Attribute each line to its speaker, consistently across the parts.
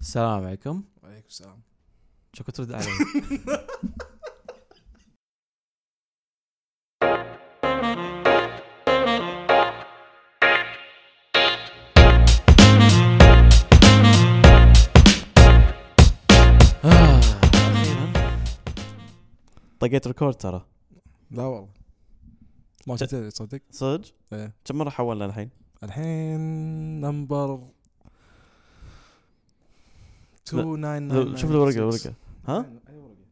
Speaker 1: السلام عليكم
Speaker 2: وعليكم السلام
Speaker 1: شكرا ترد علي آه، أخيراً. طقيت ريكورد ترى
Speaker 2: لا والله ما
Speaker 1: ت-
Speaker 2: تدري تصدق
Speaker 1: صدق
Speaker 2: ايه
Speaker 1: كم مره حولنا الحين
Speaker 2: الحين نمبر
Speaker 1: لا،
Speaker 2: 2999
Speaker 1: شوف الورقه الورقه ها
Speaker 2: أي ورقة؟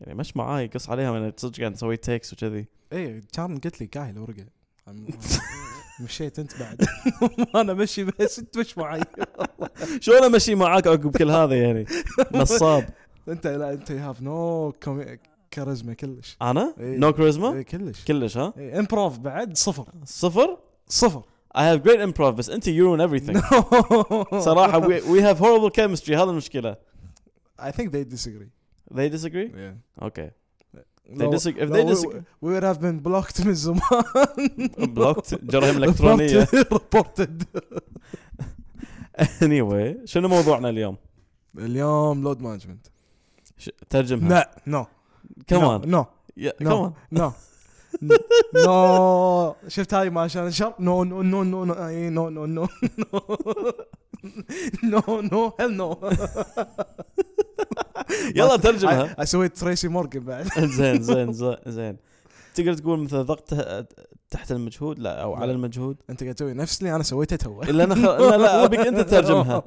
Speaker 1: يعني مش معاي قص عليها من صدق قاعد نسوي تيكس وكذي
Speaker 2: ايه كان قلت لي قايل الورقه أم- مشيت انت بعد انا مشي بس انت مش معي
Speaker 1: شلون امشي معاك عقب كل هذا يعني نصاب
Speaker 2: انت لا انت هاف نو كاريزما كلش
Speaker 1: انا
Speaker 2: إيه.
Speaker 1: نو كاريزما
Speaker 2: إيه، كلش
Speaker 1: كلش ها
Speaker 2: إيه، امبروف بعد صفر
Speaker 1: صفر
Speaker 2: صفر
Speaker 1: I have great improv بس انت you ruin everything صراحه we, we have horrible chemistry هذا المشكله
Speaker 2: I think they disagree
Speaker 1: they disagree
Speaker 2: yeah.
Speaker 1: okay they
Speaker 2: لو-
Speaker 1: disagree if
Speaker 2: لو
Speaker 1: they
Speaker 2: we-
Speaker 1: disagree
Speaker 2: we would have been blocked من زمان
Speaker 1: blocked جرائم الكترونيه
Speaker 2: ريبورتد
Speaker 1: anyway شنو موضوعنا اليوم
Speaker 2: اليوم لود مانجمنت
Speaker 1: ش- ترجمها
Speaker 2: لا نو
Speaker 1: كمان
Speaker 2: نو
Speaker 1: كمان
Speaker 2: نو نو شفت هاي ما عشان شر نو نو نو نو نو اي نو نو نو نو نو هيل نو
Speaker 1: يلا ترجمها
Speaker 2: سويت تريسي مورجن بعد
Speaker 1: زين زين زين زين تقدر تقول مثل ضغط تحت المجهود لا او على
Speaker 2: لا.
Speaker 1: المجهود
Speaker 2: انت قاعد تسوي نفس اللي انا سويته تو
Speaker 1: الا انا خل... لا لا ابيك انت تترجمها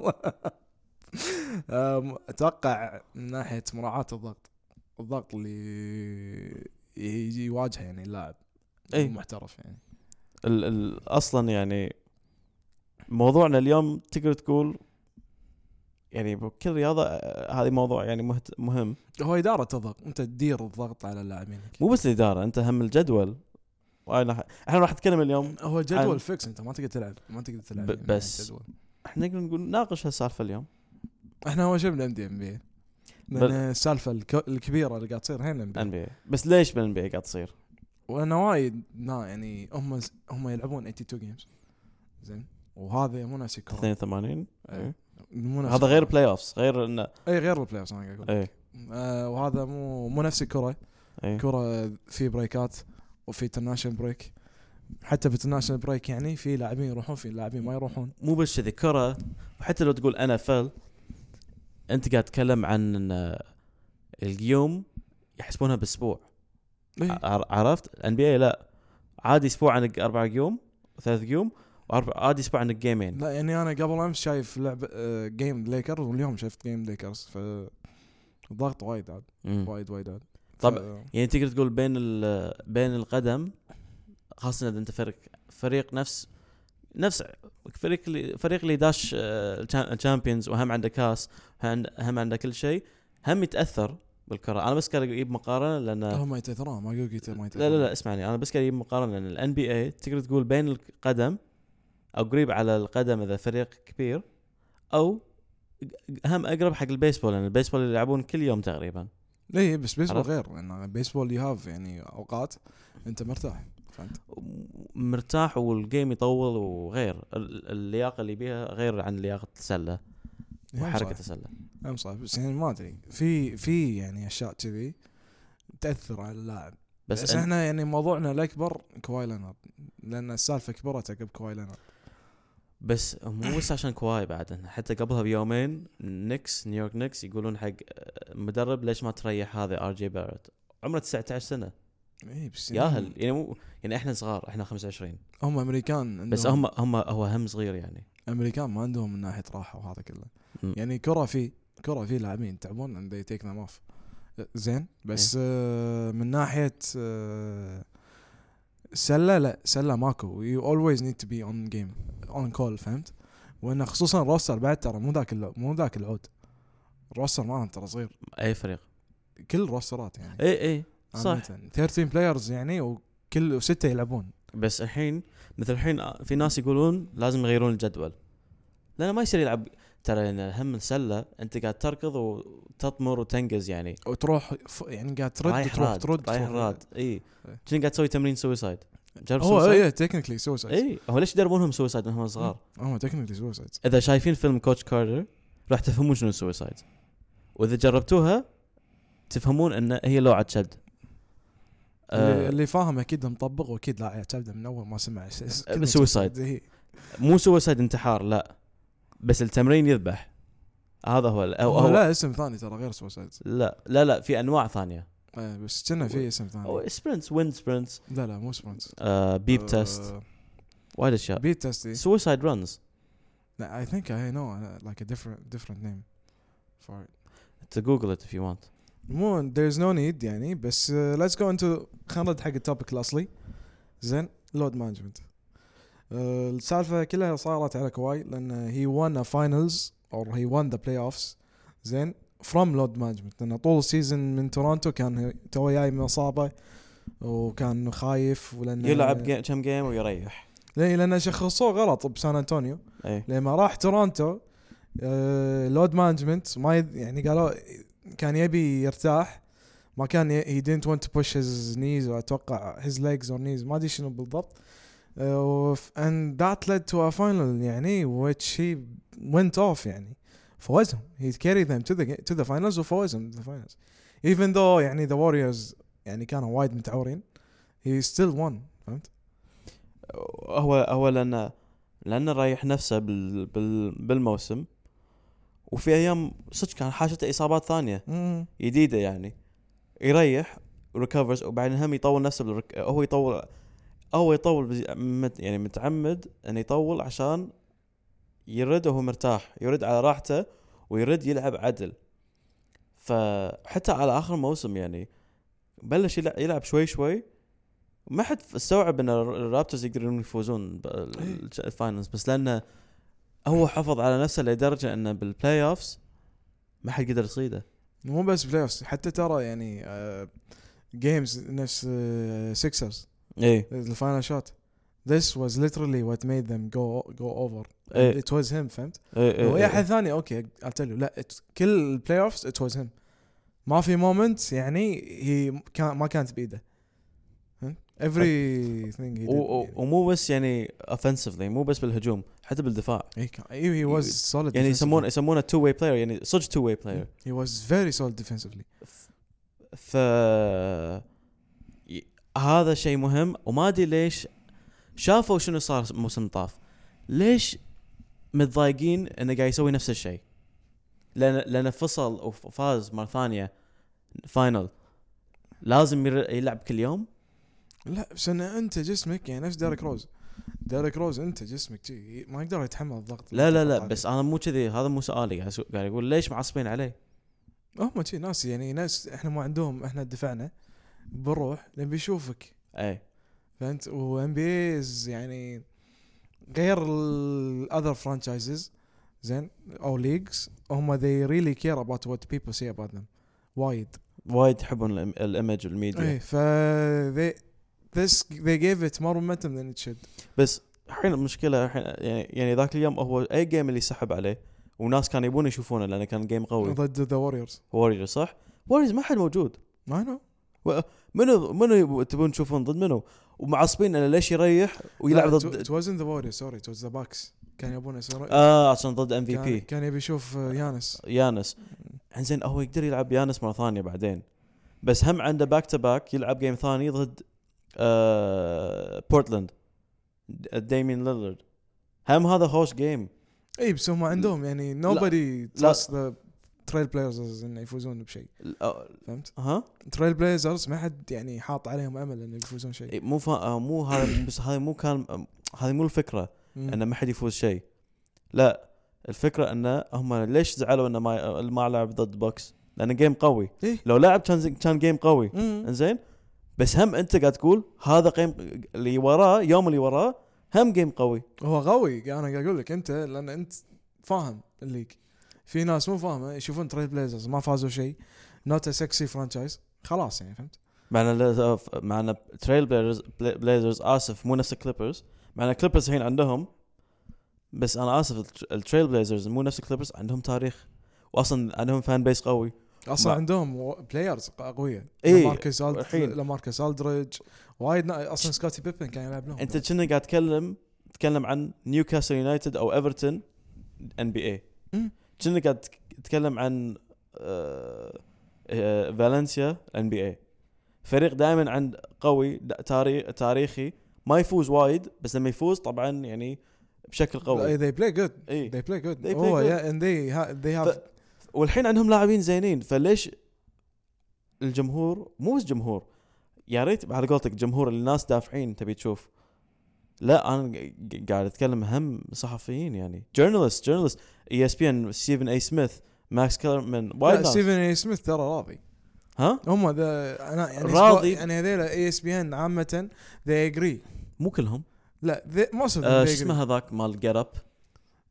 Speaker 2: أم، اتوقع من ناحيه مراعاه الضغط الضغط اللي يجي يواجهه يعني اللاعب
Speaker 1: إي.
Speaker 2: محترف يعني
Speaker 1: ال ال اصلا يعني موضوعنا اليوم تقدر تقول يعني بكل رياضه آه، هذه موضوع يعني مهت مهم
Speaker 2: هو إدارة الضغط أنت تدير الضغط على اللاعبينك
Speaker 1: مو بس الاداره انت هم الجدول وأنا ح- احنا راح نتكلم اليوم
Speaker 2: هو
Speaker 1: عن-
Speaker 2: جدول فيكس أنت ما تقدر تلعب ما تقدر تلعب
Speaker 1: ب-
Speaker 2: يعني
Speaker 1: بس.
Speaker 2: جدول.
Speaker 1: احنا نقدر نقول ناقش هالسالفه اليوم
Speaker 2: احنا هو شبنا ام دي ام بي
Speaker 1: بل-
Speaker 2: لأن السالفة الك- الكبيرة اللي قاعد تصير هنا ام بي
Speaker 1: ان بي بس ليش بالان بي قاعد تصير؟
Speaker 2: وأنا وايد نا يعني هم هم يلعبون 82 جيمز زين وهذا مو ناس يكرون
Speaker 1: 82
Speaker 2: إيه. مو نفس
Speaker 1: هذا غير
Speaker 2: الكرة.
Speaker 1: بلاي اوفس غير انه
Speaker 2: اي غير البلاي اوفز انا قاعد اقول
Speaker 1: ايه
Speaker 2: آه، وهذا مو مو نفس الكرة
Speaker 1: ايه
Speaker 2: كرة في بريكات وفي انترناشونال بريك حتى في انترناشونال بريك يعني في لاعبين يروحون في لاعبين ما يروحون
Speaker 1: مو بس كذي كره وحتى لو تقول ان اف ال انت قاعد تتكلم عن إن اليوم يحسبونها باسبوع
Speaker 2: إيه.
Speaker 1: ع- عرفت الان بي لا عادي اسبوع عندك اربع يوم وثلاث يوم واربع عادي اسبوع عندك جيمين
Speaker 2: لا يعني انا قبل امس شايف لعبه آه، جيم ليكرز واليوم شفت جيم ليكرز ف الضغط وايد عاد
Speaker 1: مم.
Speaker 2: وايد وايد عاد ف-
Speaker 1: طب- يعني تقدر تقول بين ال- بين القدم خاصه اذا انت فريق فريق نفس نفس فريق اللي فريق اللي داش الشامبيونز وهم عنده كاس هم- هم عنده كل شيء هم يتاثر بالكره انا بس قاعد إيه اجيب مقارنه لان
Speaker 2: هم يتاثرون ما يقول ما
Speaker 1: لا لا لا اسمعني انا بس قاعد يعني اجيب مقارنه لان الان بي اي تقدر تقول بين القدم او قريب على القدم اذا فريق كبير او هم اقرب حق البيسبول لان البيسبول اللي يلعبون كل يوم تقريبا
Speaker 2: اي إيه، بس بيسبول
Speaker 1: عرفت؟
Speaker 2: غير لان بيسبول يو هاف يعني اوقات انت مرتاح فهمت
Speaker 1: مرتاح والجيم يطول وغير ال- اللياقه اللي بيها غير عن لياقه السله وحركه السله
Speaker 2: ام صح بس يعني ما ادري في في يعني اشياء كذي تاثر على اللاعب
Speaker 1: بس
Speaker 2: بس, بس
Speaker 1: أن-
Speaker 2: احنا يعني موضوعنا الاكبر كواي لينارد لان السالفه كبرت عقب كواي لينارد
Speaker 1: بس مو بس عشان كواي بعد إحنا حتى قبلها بيومين نيكس نيويورك نيكس يقولون حق مدرب ليش ما تريح هذا ار جي بارت عمره 19 سنه
Speaker 2: اي إيه، بس
Speaker 1: ياهل يعني مو يعني احنا صغار احنا 25
Speaker 2: هم امريكان
Speaker 1: بس
Speaker 2: عندهم-
Speaker 1: هم هم هو هم صغير يعني
Speaker 2: الامريكان ما عندهم من ناحيه راحه وهذا كله
Speaker 1: مم.
Speaker 2: يعني كره في كره في لاعبين تعبون and they take them off زين بس
Speaker 1: إيه.
Speaker 2: آه، من ناحيه آه، سله لا سله ماكو you always need to be on game on call فهمت وانه خصوصا روستر بعد ترى مو ذاك اللع- مو ذاك العود روستر مالهم ترى صغير
Speaker 1: اي فريق
Speaker 2: كل روسترات يعني
Speaker 1: اي اي إيه، صح
Speaker 2: عامةً. 13 بلايرز يعني وكل وسته يلعبون
Speaker 1: بس الحين مثل الحين آه، في ناس يقولون لازم يغيرون الجدول لانه ما يصير يلعب ترى يعني هم السله انت قاعد تركض وتطمر وتنقز يعني
Speaker 2: وتروح ف- يعني قاعد ترد
Speaker 1: رايح
Speaker 2: تروح
Speaker 1: راد
Speaker 2: ترد
Speaker 1: رايح
Speaker 2: تروح.
Speaker 1: راد اي
Speaker 2: إيه.
Speaker 1: شنو قاعد تسوي تمرين سويسايد جرب
Speaker 2: هو
Speaker 1: سويسايد
Speaker 2: ايه تكنيكلي
Speaker 1: إيه.
Speaker 2: سوسايد
Speaker 1: اي هو ليش يدربونهم سويسايد من هم صغار
Speaker 2: هم تكنيكلي سوسايد
Speaker 1: اذا شايفين فيلم كوتش كارتر راح تفهمون شنو السويسايد واذا جربتوها تفهمون ان هي لوعه شد
Speaker 2: اللي-
Speaker 1: آه
Speaker 2: اللي فاهم اكيد مطبق واكيد لا يعتبده من اول ما سمع س- س- كلمة
Speaker 1: بالسويسايد.
Speaker 2: هي.
Speaker 1: مو سويسايد انتحار لا بس التمرين يذبح هذا هو ال- أو
Speaker 2: هو
Speaker 1: هو
Speaker 2: لا اسم ثاني ترى غير سويسايد
Speaker 1: لا لا لا في انواع ثانيه
Speaker 2: آه، بس كنا في اسم
Speaker 1: او
Speaker 2: ثاني
Speaker 1: سبرنتس ويند سبرنتس
Speaker 2: لا لا مو سبرنت
Speaker 1: آه بيب تيست
Speaker 2: آه،
Speaker 1: وايد اشياء
Speaker 2: بيب تيست إيه.
Speaker 1: سويسايد رنز
Speaker 2: لا I think I know uh, like a different different name for it.
Speaker 1: تجوجل ات اف يو ونت
Speaker 2: مو there is no need يعني بس uh, let's go into خلينا نرد حق التوبيك الأصلي زين لود مانجمنت السالفة كلها صارت على كواي لأن he won a finals or he won the playoffs زين from لود مانجمنت لأن طول السيزون من تورونتو كان تو جاي من إصابة وكان خايف ولأن
Speaker 1: يلعب جي- كم جيم ويريح إيه.
Speaker 2: لأن لأن شخصوه غلط بسان أنطونيو
Speaker 1: اي
Speaker 2: لما راح تورونتو آه، لود مانجمنت ما يد- يعني قالوا كان يبي يرتاح ما كان ي- he didn't want to push his knees or اتوقع his legs or knees ما ادري شنو بالضبط آه، وف- and that led to a final يعني which he went off يعني فوزهم he carried them to the ga- to the finals وفوزهم the finals even though يعني the warriors يعني كانوا وايد متعورين he still won فهمت؟
Speaker 1: هو هو لانه لانه رايح نفسه بال بال بالموسم وفي ايام صدق كان حاشته اصابات ثانيه
Speaker 2: مم.
Speaker 1: جديده يعني يريح ريكفرز وبعدين هم يطول نفسه بالرك... هو يطول هو يطول بز... مت... يعني متعمد انه يطول عشان يرد وهو مرتاح يرد على راحته ويرد يلعب عدل فحتى على اخر موسم يعني بلش يلع- يلعب شوي شوي ما حد استوعب ان الر- الرابترز يقدرون يفوزون بالفاينلز بس لانه هو حافظ على نفسه لدرجه انه بالبلاي اوفز ما حد قدر يصيده
Speaker 2: مو بس بلاي اوفس حتى ترى يعني جيمز نفس آه، سيكسرز إيه.
Speaker 1: ايه
Speaker 2: الفاينل شوت this was literally what made them go go over
Speaker 1: ايه
Speaker 2: it was him فهمت؟
Speaker 1: ايه
Speaker 2: لو اي
Speaker 1: ايه
Speaker 2: احد ثاني اوكي قلت له لا it- كل البلاي اوفس it was him ما في مومنت يعني هي كان ما كانت بايده فهمت؟ every thing he did
Speaker 1: و- و-
Speaker 2: يعني.
Speaker 1: ومو بس يعني اوفنسفلي مو بس بالهجوم حتى بالدفاع
Speaker 2: إيه كان- إيه he was solid
Speaker 1: يعني
Speaker 2: defensively.
Speaker 1: يسمونه يسمونه تو واي بلاير يعني صدق تو واي بلاير
Speaker 2: he was very solid defensively
Speaker 1: ف ي- هذا شيء مهم وما ادري ليش شافوا شنو صار موسم طاف ليش متضايقين انه قاعد يسوي نفس الشيء لان لان فصل وفاز مره ثانيه فاينل لازم ير- يلعب كل يوم
Speaker 2: لا بس انا انت جسمك يعني نفس ديريك روز ديريك روز انت جسمك جي ما يقدر يتحمل الضغط
Speaker 1: لا لا لا بس انا مو كذي هذا مو سؤالي قاعد أسو- قاعد اقول ليش معصبين عليه
Speaker 2: هم شي ناس يعني ناس احنا ما عندهم احنا دفعنا بنروح لان بيشوفك
Speaker 1: اي
Speaker 2: فهمت وام بي ايز يعني غير الاذر فرانشايزز زين او ليجز هم they really care about what people say about them وايد
Speaker 1: وايد يحبون الإم- الايمج والميديا
Speaker 2: ايه ف they this they gave it more momentum than it should
Speaker 1: بس الحين المشكله الحين يعني يعني ذاك اليوم هو اي جيم اللي سحب عليه وناس كانوا يبون يشوفونه لانه كان جيم قوي
Speaker 2: ضد the warriors
Speaker 1: وورير صح؟ ووريرز ما حد موجود
Speaker 2: ما نو
Speaker 1: منو منو يب- تبون تشوفون ضد منو؟ ومعصبين انه ليش يريح ويلعب ضد
Speaker 2: it wasn't the warriors sorry it was the bucks كان يبون يسوون
Speaker 1: اه عشان ضد ام في
Speaker 2: كان,
Speaker 1: بي
Speaker 2: كان يبي يشوف آه، يانس
Speaker 1: يانس انزين هو يقدر يلعب يانس مره ثانيه بعدين بس هم عنده باك تو باك يلعب جيم ثاني ضد آه بورتلاند ديمين ليلرد هم هذا هوش جيم
Speaker 2: اي بس هم عندهم يعني nobody
Speaker 1: لا.
Speaker 2: trusts the trail players انه يفوزون بشيء
Speaker 1: ال- آه،
Speaker 2: فهمت؟
Speaker 1: ها
Speaker 2: trail players ما حد يعني حاط عليهم امل انه يفوزون شيء
Speaker 1: إيه، مو فا... آه، مو هذا بس هذه مو كان آه، هذه مو الفكره
Speaker 2: مم.
Speaker 1: انه ما حد يفوز شيء لا الفكره انه هم ليش زعلوا انه ما ما لعب ضد بوكس لانه جيم قوي
Speaker 2: إيه.
Speaker 1: لو لعب كان زي- كان جيم قوي
Speaker 2: مم.
Speaker 1: انزين بس هم انت قاعد تقول هذا قيم اللي وراه يوم اللي وراه هم جيم قوي
Speaker 2: هو قوي انا قاعد اقول لك انت لان انت فاهم الليج في ناس مو فاهمه يشوفون تريل بليزرز ما فازوا شيء نوت سكسي فرانشايز خلاص يعني فهمت؟
Speaker 1: معنا لا- معنا تريل بلايزرز بلايزرز اسف مو نفس الكليبرز معنا كليبرز الحين عندهم بس انا اسف التر- التريل بلايزرز مو نفس الكليبرز عندهم تاريخ واصلا عندهم فان بيس قوي
Speaker 2: اصلا
Speaker 1: ما-
Speaker 2: عندهم بلايرز قويه
Speaker 1: إيه،
Speaker 2: لماركس ألد-
Speaker 1: الحين.
Speaker 2: لماركس الدريج وايد نا- اصلا سكوتي بيبن كان يلعب لهم
Speaker 1: انت كنا قاعد تتكلم تتكلم عن نيوكاسل يونايتد او ايفرتون ان بي اي
Speaker 2: مم.
Speaker 1: كأنك قاعد تتكلم عن آه، آه، فالنسيا ان بي اي فريق دائما عند قوي دا- تاري- تاريخي ما يفوز وايد بس لما يفوز طبعا يعني بشكل قوي
Speaker 2: they play good
Speaker 1: اي
Speaker 2: they play good
Speaker 1: They play
Speaker 2: oh
Speaker 1: good.
Speaker 2: yeah and they ha- they have
Speaker 1: ف- والحين عندهم لاعبين زينين فليش الجمهور مو بس جمهور يا ريت على قولتك جمهور الناس دافعين تبي تشوف لا انا ق- قاعد اتكلم هم صحفيين يعني E جورنالست جورنالست اي اس بي ان ستيفن اي سميث ماكس كلرمان وايد
Speaker 2: لا
Speaker 1: ناس.
Speaker 2: ستيفن اي سميث ترى راضي
Speaker 1: ها
Speaker 2: هم ذا انا يعني
Speaker 1: راضي.
Speaker 2: سبو- يعني هذيلا اي اس بي ان عامه they agree
Speaker 1: مو كلهم
Speaker 2: لا they, most of them
Speaker 1: آه،
Speaker 2: they
Speaker 1: شو
Speaker 2: agree
Speaker 1: اسمه هذاك مال جيت اب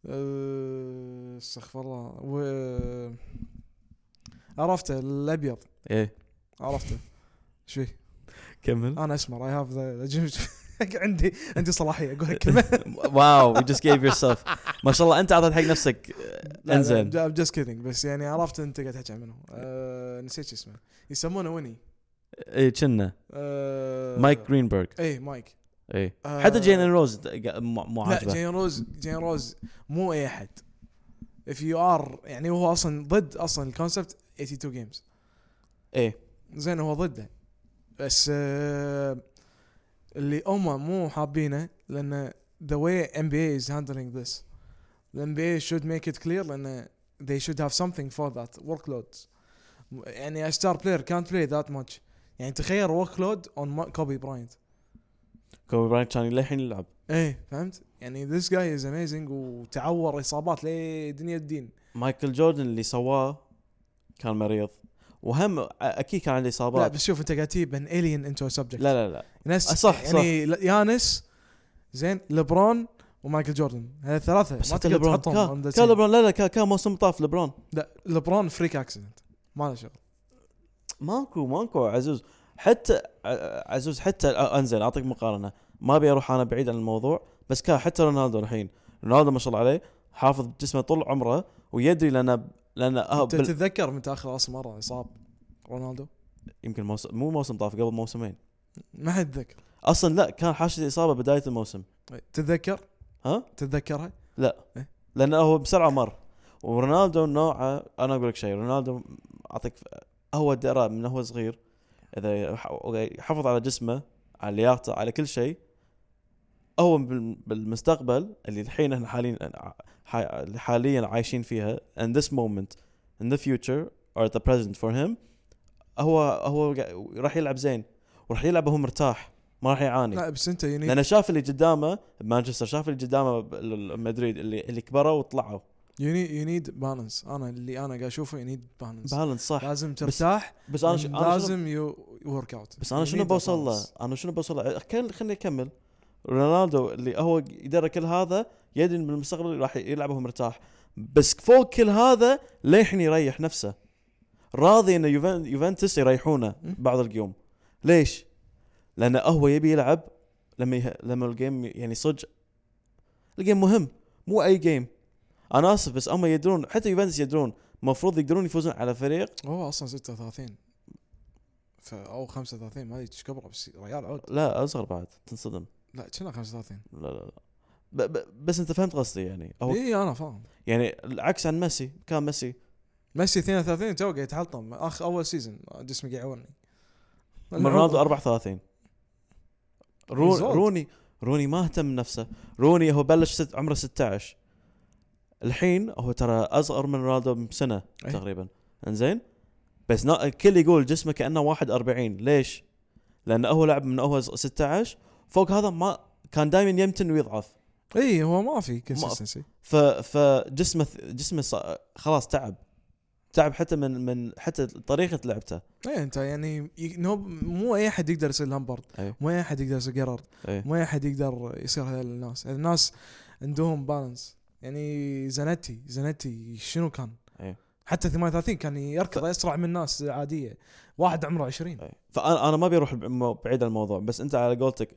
Speaker 2: آه، استغفر الله و عرفته الابيض إيه.
Speaker 1: ايه
Speaker 2: عرفته شوي
Speaker 1: كمل
Speaker 2: انا اسمر اي هاف ذا عندي عندي صلاحيه اقول كلمه
Speaker 1: واو يو جاست جيف يور سيلف ما شاء الله انت اعطيت حق نفسك آه، انزين
Speaker 2: جاست كيدنج بس يعني عرفت انت قاعد تحكي عنه آه، نسيت شو اسمه يسمونه وني
Speaker 1: اي إيه، كنا
Speaker 2: آه،
Speaker 1: مايك جرينبرغ
Speaker 2: اي مايك
Speaker 1: اي
Speaker 2: آه،
Speaker 1: إيه. حتى جين روز مو مو
Speaker 2: لا
Speaker 1: عاجبه
Speaker 2: جين روز جين روز مو اي احد اف يو ار يعني هو اصلا ضد اصلا الكونسبت 82 جيمز
Speaker 1: ايه
Speaker 2: زين هو ضده بس آه، اللي هم مو حابينه لان the way NBA is handling this the NBA should make it clear لان they should have something for that workload يعني a star player can't play that much يعني تخيل workload on كوبي براينت
Speaker 1: كوبي براينت كان للحين يلعب
Speaker 2: ايه فهمت يعني this guy is amazing وتعور اصابات ليه دنيا الدين
Speaker 1: مايكل جوردن اللي سواه كان مريض وهم اكيد كان عنده
Speaker 2: لا
Speaker 1: اصابات
Speaker 2: بس شوف انت قاعد تجيب an alien into a subject
Speaker 1: لا لا لا
Speaker 2: ناس
Speaker 1: آه، صح،
Speaker 2: يعني ل- يانس زين لبرون ومايكل جوردن هذا ثلاثة
Speaker 1: بس
Speaker 2: ما
Speaker 1: حتى
Speaker 2: تقدر
Speaker 1: لبرون
Speaker 2: تحطهم on
Speaker 1: كان
Speaker 2: the
Speaker 1: كان
Speaker 2: same.
Speaker 1: لبرون لا لا كان- كان موسم طاف لبرون
Speaker 2: لا لبرون فريك اكسيدنت ما له شغل
Speaker 1: ماكو ماكو عزوز حتى ع- عزوز حتى آه، انزين اعطيك مقارنه ما ابي اروح انا بعيد عن الموضوع بس كان حتى رونالدو الحين رونالدو ما شاء الله عليه حافظ جسمه طول عمره ويدري لان لان آه
Speaker 2: انت
Speaker 1: بال-
Speaker 2: تتذكر متى اخر اصلا مرة اصاب رونالدو
Speaker 1: يمكن موسم مو موسم طاف قبل موسمين
Speaker 2: ما حد يتذكر
Speaker 1: اصلا لا كان حاشد اصابه بدايه الموسم
Speaker 2: تتذكر
Speaker 1: ها
Speaker 2: تتذكرها
Speaker 1: لانه هو بسرعه مر ورونالدو نوعه انا اقول لك شيء رونالدو اعطيك هو درى من هو صغير اذا ح- حافظ على جسمه على لياقته على كل شيء هو بال- بالمستقبل اللي الحين احنا حاليا ح- حاليا عايشين فيها in this moment in the future or the present for him هو هو قا- راح يلعب زين وراح يلعب وهو مرتاح ما راح يعاني
Speaker 2: لا بس انت يونيك
Speaker 1: لانه شاف اللي قدامه بمانشستر شاف اللي قدامه بمدريد اللي اللي كبروا وطلعوا
Speaker 2: يو نيد بالانس انا اللي انا قاعد اشوفه يو نيد بالانس
Speaker 1: بالانس صح
Speaker 2: لازم ترتاح
Speaker 1: بس انا ش... انا شنو...
Speaker 2: لازم يو ورك اوت
Speaker 1: بس انا شنو بوصل له؟ انا شنو بوصل له؟ كان- خليني اكمل رونالدو اللي هو يدرى كل هذا يدري إن بالمستقبل راح يلعب وهو مرتاح بس فوق كل هذا للحين يريح نفسه راضي ان يوفن... يوفنتوس يريحونه
Speaker 2: م.
Speaker 1: بعض اليوم ليش؟ لانه هو يبي يلعب لما يه... لما الجيم يعني صدق الجيم مهم مو اي جيم انا اسف بس هم يدرون حتى يوفنتوس يدرون المفروض يقدرون يفوزون على فريق
Speaker 2: هو اصلا 36 ف او 35 ما ادري ايش كبره بس ريال عود
Speaker 1: لا اصغر بعد تنصدم
Speaker 2: لا كنا 35
Speaker 1: لا لا لا ب ب بس انت فهمت قصدي يعني او
Speaker 2: اي انا إيه، فاهم
Speaker 1: يعني العكس عن ميسي كان ميسي
Speaker 2: ميسي 32 تو قاعد يتحطم اخ اول سيزون جسمي قاعد يعورني
Speaker 1: رونالدو 34 رو
Speaker 2: He's old.
Speaker 1: روني روني ما اهتم بنفسه روني هو بلش ست عمره 16 الحين هو ترى اصغر من رونالدو بسنه
Speaker 2: أي.
Speaker 1: تقريبا انزين بس نا... الكل يقول جسمه كانه 41 ليش؟ لانه هو لعب من هو 16 فوق هذا ما كان دائما يمتن ويضعف
Speaker 2: اي إيه، هو ما في كونسستنسي
Speaker 1: ف فجسمه جسمه ص- خلاص تعب تعب حتى من من حتى طريقه لعبته
Speaker 2: اي انت يعني ي- نو مو اي احد يقدر يصير لامبرد
Speaker 1: أي.
Speaker 2: مو اي احد يقدر يصير جيرارد
Speaker 1: ايه
Speaker 2: مو اي احد يقدر يصير هذول الناس هذول الناس عندهم بالانس يعني زنتي زنتي شنو كان؟
Speaker 1: أي.
Speaker 2: حتى 38 كان يركض اسرع من ناس عاديه واحد عمره 20
Speaker 1: أي. فانا انا ما بيروح بعيد عن الموضوع بس انت على قولتك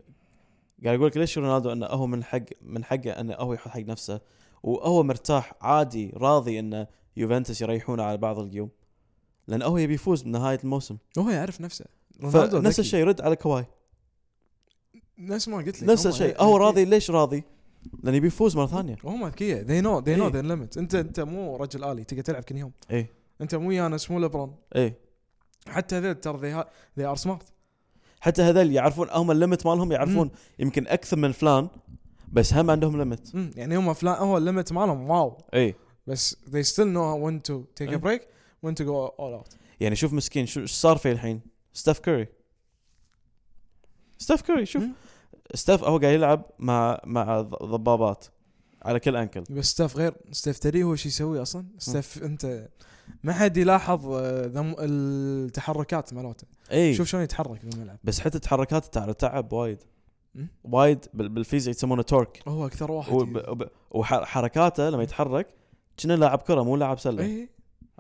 Speaker 1: قاعد اقول لك ليش رونالدو انه هو من حق من حقه انه هو يحط حق نفسه وهو مرتاح عادي راضي انه يوفنتوس يريحونه على بعض اليوم لانه هو يبي يفوز بنهايه الموسم
Speaker 2: هو يعرف نفسه رونالدو
Speaker 1: فنفس
Speaker 2: ذكي.
Speaker 1: الشيء رد على كواي
Speaker 2: نفس ما قلت لك إيه. يعني
Speaker 1: نفس
Speaker 2: هم-
Speaker 1: الشيء هو راضي ليش راضي؟ لانه يبي يفوز مره ثانيه
Speaker 2: وهم اذكياء Oh they know they
Speaker 1: إيه.
Speaker 2: know their limits انت انت مو رجل الي تقدر تلعب كل يوم
Speaker 1: ايه
Speaker 2: انت مو يانس مو لبرون
Speaker 1: ايه
Speaker 2: حتى هذول ترى they, ha- they are smart
Speaker 1: حتى هذول يعرفون هم الليمت مالهم يعرفون يمكن اكثر من فلان بس هم عندهم ليمت
Speaker 2: مم. يعني هم فلان هو الليمت مالهم واو
Speaker 1: اي
Speaker 2: بس they still know when to take a
Speaker 1: إيه.
Speaker 2: break when to go all out
Speaker 1: يعني شوف مسكين شو شو صار فيه الحين ستاف كوري ستاف كوري شوف
Speaker 2: مم.
Speaker 1: ستاف هو قاعد يلعب مع مع ض- ضبابات على كل انكل
Speaker 2: بس ستاف غير ستاف تدري هو شو يسوي اصلا ستاف انت ما حد يلاحظ آه، ذم- التحركات مالته
Speaker 1: اي
Speaker 2: شوف شلون يتحرك بالملعب
Speaker 1: بس حتى تحركاته تعب تعب وايد
Speaker 2: مم.
Speaker 1: وايد بال- بالفيزياء يسمونه تورك
Speaker 2: هو اكثر واحد ي-
Speaker 1: وب- وب- وحركاته لما يتحرك كنا لاعب كره مو لاعب سله
Speaker 2: اي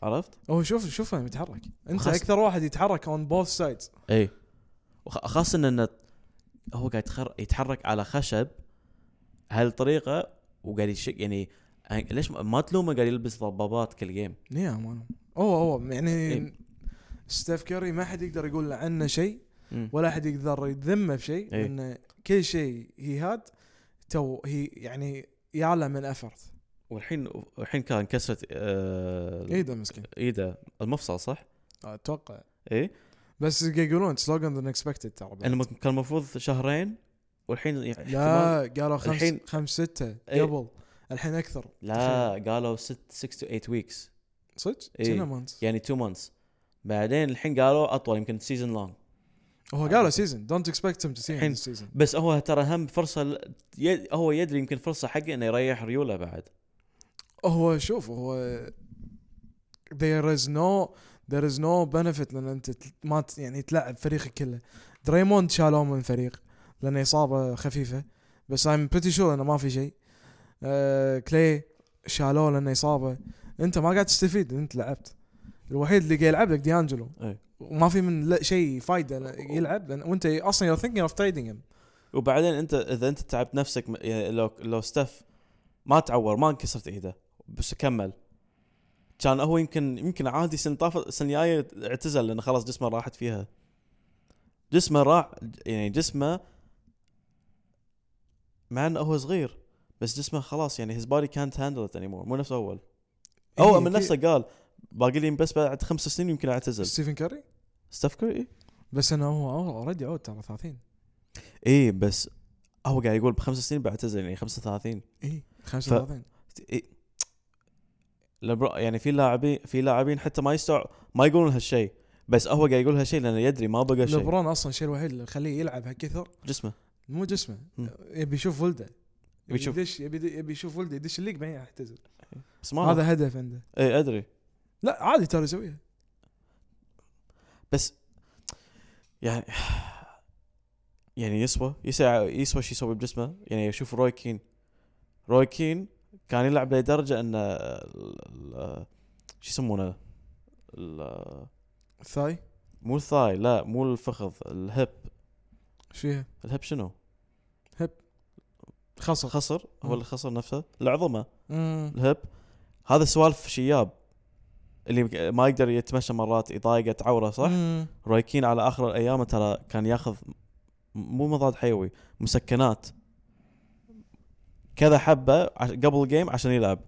Speaker 1: عرفت؟
Speaker 2: إيه. هو شوف شوفه يتحرك انت
Speaker 1: وخاصة-
Speaker 2: اكثر واحد يتحرك اون بوث سايدز
Speaker 1: اي خاصة انه هو قاعد يتخر- يتحرك على خشب هالطريقة وقاعد يشق يعني أه، ليش ما- ما تلومه قاعد يلبس ضبابات كل جيم
Speaker 2: يا مان هو هو يعني
Speaker 1: إيه.
Speaker 2: ستيف كوري ما حد يقدر يقول له عنه شيء ولا حد يقدر يذمه بشيء
Speaker 1: إيه.
Speaker 2: لان كل شيء هي هاد تو هي يعني يعلى من افرت
Speaker 1: والحين والحين كان انكسرت آه،
Speaker 2: اي إيه، ده مسكين
Speaker 1: ايده المفصل صح؟
Speaker 2: اتوقع
Speaker 1: اي
Speaker 2: بس يقولون سلوجن ذا انكسبكتد ترى بعد.
Speaker 1: انا م- كان المفروض شهرين والحين يعني احتمال-
Speaker 2: لا قالوا خمس
Speaker 1: الحين-
Speaker 2: خمس ستة
Speaker 1: إيه.
Speaker 2: قبل الحين اكثر
Speaker 1: لا قالوا 6 تو 8 ويكس
Speaker 2: صدق؟
Speaker 1: إيه.
Speaker 2: كنا مانت
Speaker 1: يعني 2 مانثs بعدين الحين قالوا اطول يمكن سيزون لونج
Speaker 2: هو قالوا سيزون دونت اكسبكت هم تو سي
Speaker 1: الحين-
Speaker 2: سيزون
Speaker 1: بس هو ترى هم فرصه ل- ي- هو يدري يمكن فرصه حقه انه يريح ريوله بعد
Speaker 2: هو شوف هو there is no there is no benefit لان انت تل- ما ت- يعني تلعب فريقك كله دريموند شالوه من الفريق لانه اصابه خفيفه بس I'm pretty sure انه ما في شيء آه كلي شالوه لانه اصابه انت ما قاعد تستفيد إن انت لعبت الوحيد اللي قاعد يلعب لك ديانجلو
Speaker 1: أي.
Speaker 2: وما في من ل- شيء فايده ل- يلعب لان وانت اصلا you're thinking of trading him
Speaker 1: وبعدين انت اذا انت تعبت نفسك م- يعني لو لو ستاف ما تعور ما انكسرت ايده بس كمل كان هو يمكن يمكن عادي سنه طافت السنه الجايه اعتزل لانه خلاص جسمه راحت فيها جسمه راح يعني جسمه مع انه هو صغير بس جسمه خلاص يعني his body can't handle it anymore مو نفس اول
Speaker 2: إيه،
Speaker 1: اول من
Speaker 2: أكيد.
Speaker 1: نفسه قال باقي لي بس بعد خمس سنين يمكن اعتزل
Speaker 2: ستيفن كاري
Speaker 1: ستاف كوري إيه؟
Speaker 2: بس انه هو اوريدي عود ترى 30
Speaker 1: ايه
Speaker 2: إيه،
Speaker 1: بس هو قاعد يقول بخمس سنين بعتزل يعني 35
Speaker 2: اي 35
Speaker 1: إيه. لبرا يعني في لاعبين في لاعبين حتى ما يستوع ما يقولون هالشيء بس هو قاعد يقول هالشيء لانه يدري ما بقى شيء
Speaker 2: لبرون اصلا الشيء الوحيد اللي يخليه يلعب هالكثر
Speaker 1: جسمه
Speaker 2: مو جسمه
Speaker 1: مم.
Speaker 2: يبي يشوف ولده يبي
Speaker 1: يشوف-
Speaker 2: يدش يبي يبي يشوف ولده يدش الليج بعدين يعتزل
Speaker 1: بس ما هذا
Speaker 2: هذا هدف عنده
Speaker 1: اي ادري
Speaker 2: لا عادي ترى يسويها
Speaker 1: بس يعني يعني يسوى يسوى يسوى شو يسوي بجسمه يعني شوف روي كين روي كين كان يلعب لدرجه انه ال- ال- شو يسمونه ال-
Speaker 2: الثاي
Speaker 1: مو الثاي لا مو الفخذ الهب
Speaker 2: ايش فيها؟
Speaker 1: الهب شنو؟
Speaker 2: خصر
Speaker 1: الخصر
Speaker 2: مم.
Speaker 1: هو الخصر نفسه العظمه
Speaker 2: مم.
Speaker 1: الهب هذا سوالف شياب اللي ما يقدر يتمشى مرات يضايقه تعوره صح؟
Speaker 2: مم.
Speaker 1: رايكين على اخر الايام ترى كان ياخذ م- مو مضاد حيوي مسكنات كذا حبه عش- قبل الجيم عشان يلعب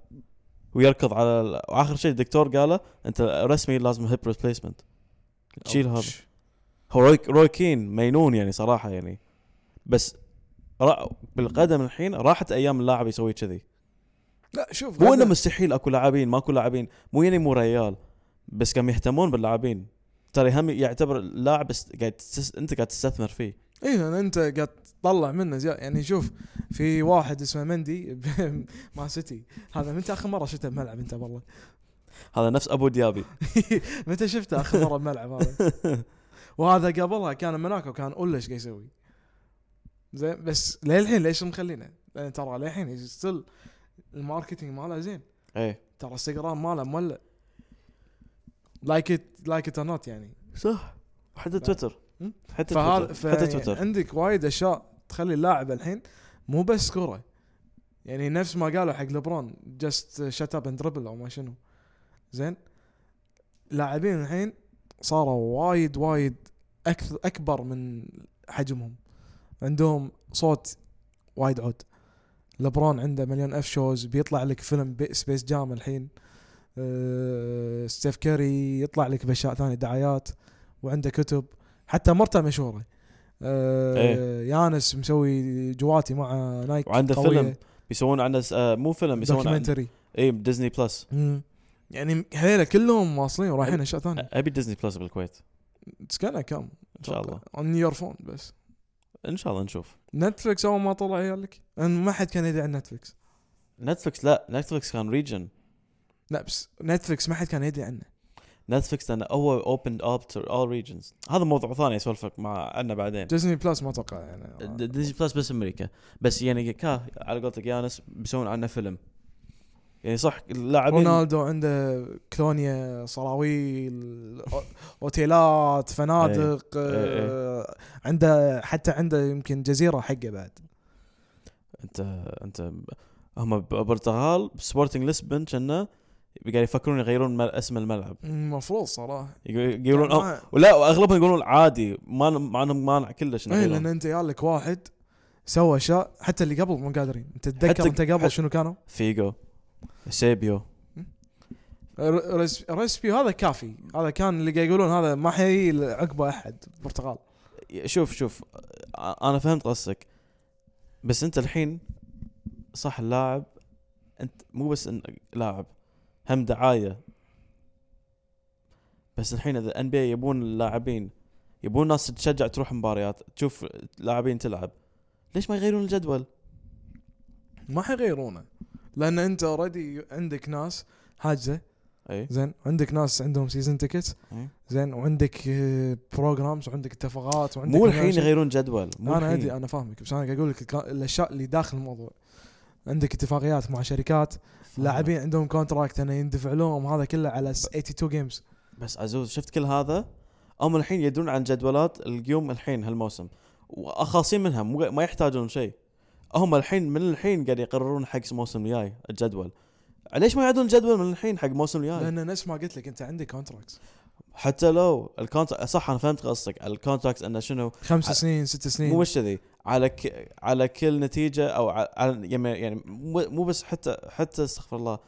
Speaker 1: ويركض على ال- واخر شيء الدكتور قاله انت رسمي لازم هيب ريبليسمنت تشيل هذا
Speaker 2: أوتش.
Speaker 1: هو روي رويكين مينون يعني صراحه يعني بس را بالقدم الحين راحت ايام اللاعب يسوي كذي
Speaker 2: لا شوف
Speaker 1: هو
Speaker 2: هذا-
Speaker 1: انه مستحيل اكو لاعبين ماكو لاعبين مو يعني مو ريال بس كم يهتمون باللاعبين ترى هم يعتبر اللاعب است- قاعد تس... انت قاعد تستثمر فيه
Speaker 2: اي لان انت إيه، قاعد تطلع منه زياده يعني شوف في واحد اسمه مندي مع سيتي هذا متى اخر مره شفته بملعب انت والله
Speaker 1: هذا نفس ابو ديابي
Speaker 2: متى شفته اخر مره بملعب هذا؟ وهذا قبلها كان مناكو كان اولش قاعد يسوي. زين بس للحين ليش مخلينه؟ لان ترى للحين ستيل الماركتينج ماله زين
Speaker 1: ايه
Speaker 2: ترى انستغرام ماله مولع. لايك ات لايك ات نوت يعني
Speaker 1: صح حتى تويتر
Speaker 2: مم.
Speaker 1: حتى
Speaker 2: فهذا
Speaker 1: تويتر
Speaker 2: ف...
Speaker 1: حتى تويتر
Speaker 2: عندك وايد اشياء تخلي اللاعب الحين مو بس كوره يعني نفس ما قالوا حق لبرون جاست شت اب اند دربل او ما شنو زين لاعبين الحين صاروا وايد وايد اكثر اكبر من حجمهم عندهم صوت وايد عود لبرون عنده مليون اف شوز بيطلع لك فيلم بي- سبيس جام الحين أه ستيف كاري يطلع لك باشياء ثانيه دعايات وعنده كتب حتى مرته مشهوره أه
Speaker 1: إيه.
Speaker 2: يانس مسوي جواتي مع نايك
Speaker 1: وعنده
Speaker 2: قوية.
Speaker 1: فيلم بيسوون عنه س- آه، مو فيلم بيسوون عنه إيه،
Speaker 2: دوكيومنتري
Speaker 1: اي ديزني بلس
Speaker 2: مم. يعني هذيلا كلهم واصلين
Speaker 1: إيه.
Speaker 2: ورايحين اشياء ثانيه
Speaker 1: ابي ديزني بلس بالكويت
Speaker 2: تسكنها كم؟
Speaker 1: ان شاء الله
Speaker 2: اون يور فون بس
Speaker 1: ان شاء الله نشوف
Speaker 2: نتفلكس اول ما طلع يقولك ان ما حد كان يدري عن نتفلكس
Speaker 1: نتفلكس لا نتفلكس كان ريجن
Speaker 2: لا بس نتفلكس ما حد كان يدري عنه
Speaker 1: نتفلكس لانه هو اوبند اب تو اول ريجنز هذا موضوع ثاني اسولف لك مع عنه بعدين
Speaker 2: ديزني بلس ما اتوقع يعني
Speaker 1: آه، د- ديزني بلس بس امريكا بس يعني كا على قولتك يانس بيسوون عنه فيلم يعني صح اللاعبين
Speaker 2: رونالدو عنده كلونيا صراويل أو- اوتيلات فنادق
Speaker 1: إيه، إيه.
Speaker 2: آه، عنده حتى عنده يمكن جزيره حقه بعد
Speaker 1: انت انت هم بالبرتغال سبورتنج لسبن كنا قاعد يفكرون يغيرون مل- اسم الملعب
Speaker 2: المفروض صراحه
Speaker 1: يقول- يقولون
Speaker 2: يعني
Speaker 1: أو
Speaker 2: ما-
Speaker 1: ولا واغلبهم يقولون عادي ما ما عندهم مانع كلش
Speaker 2: ايه
Speaker 1: نغيرون.
Speaker 2: لان انت يالك واحد سوى اشياء حتى اللي قبل مو قادرين انت تتذكر
Speaker 1: حتى-
Speaker 2: انت قبل
Speaker 1: حتى-
Speaker 2: شنو كانوا؟
Speaker 1: فيجو سيبيو
Speaker 2: ر- ريس- ريسبي هذا كافي هذا كان اللي قاعد يقولون هذا ما حي عقبه احد برتغال
Speaker 1: شوف شوف انا فهمت قصدك بس انت الحين صح اللاعب انت مو بس إن لاعب هم دعايه بس الحين اذا ان بي يبون اللاعبين يبون الناس تشجع تروح مباريات تشوف لاعبين تلعب ليش ما يغيرون الجدول؟
Speaker 2: ما حيغيرونه لان انت اوريدي عندك ناس حاجزه
Speaker 1: اي
Speaker 2: زين عندك ناس عندهم سيزون تيكت
Speaker 1: إيه.
Speaker 2: زين وعندك بروجرامز وعندك اتفاقات وعندك
Speaker 1: مو الحين
Speaker 2: مناقشة.
Speaker 1: يغيرون جدول مو
Speaker 2: انا ادري
Speaker 1: الحين
Speaker 2: انا فاهمك بس انا قاعد اقول لك الك- الاشياء اللي داخل الموضوع عندك اتفاقيات مع شركات لاعبين عندهم كونتراكت انه يندفع لهم هذا كله على س- 82 جيمز
Speaker 1: بس عزوز شفت كل هذا هم الحين يدرون عن جدولات القيوم الحين هالموسم واخاصين منها مو ما يحتاجون شيء هم الحين من الحين قاعد يقررون حق الموسم الجاي الجدول ليش ما يعدون الجدول من الحين حق الموسم الجاي
Speaker 2: لان نفس ما قلت لك انت عندك كونتراكت
Speaker 1: حتى لو الكونتاكت صح انا فهمت قصدك الكونتاكت انه شنو
Speaker 2: خمس
Speaker 1: ع-
Speaker 2: سنين ست سنين
Speaker 1: مو مش كذي على ك... على كل نتيجه او ع- على يعني يعني مو مو بس حتى حتى استغفر الله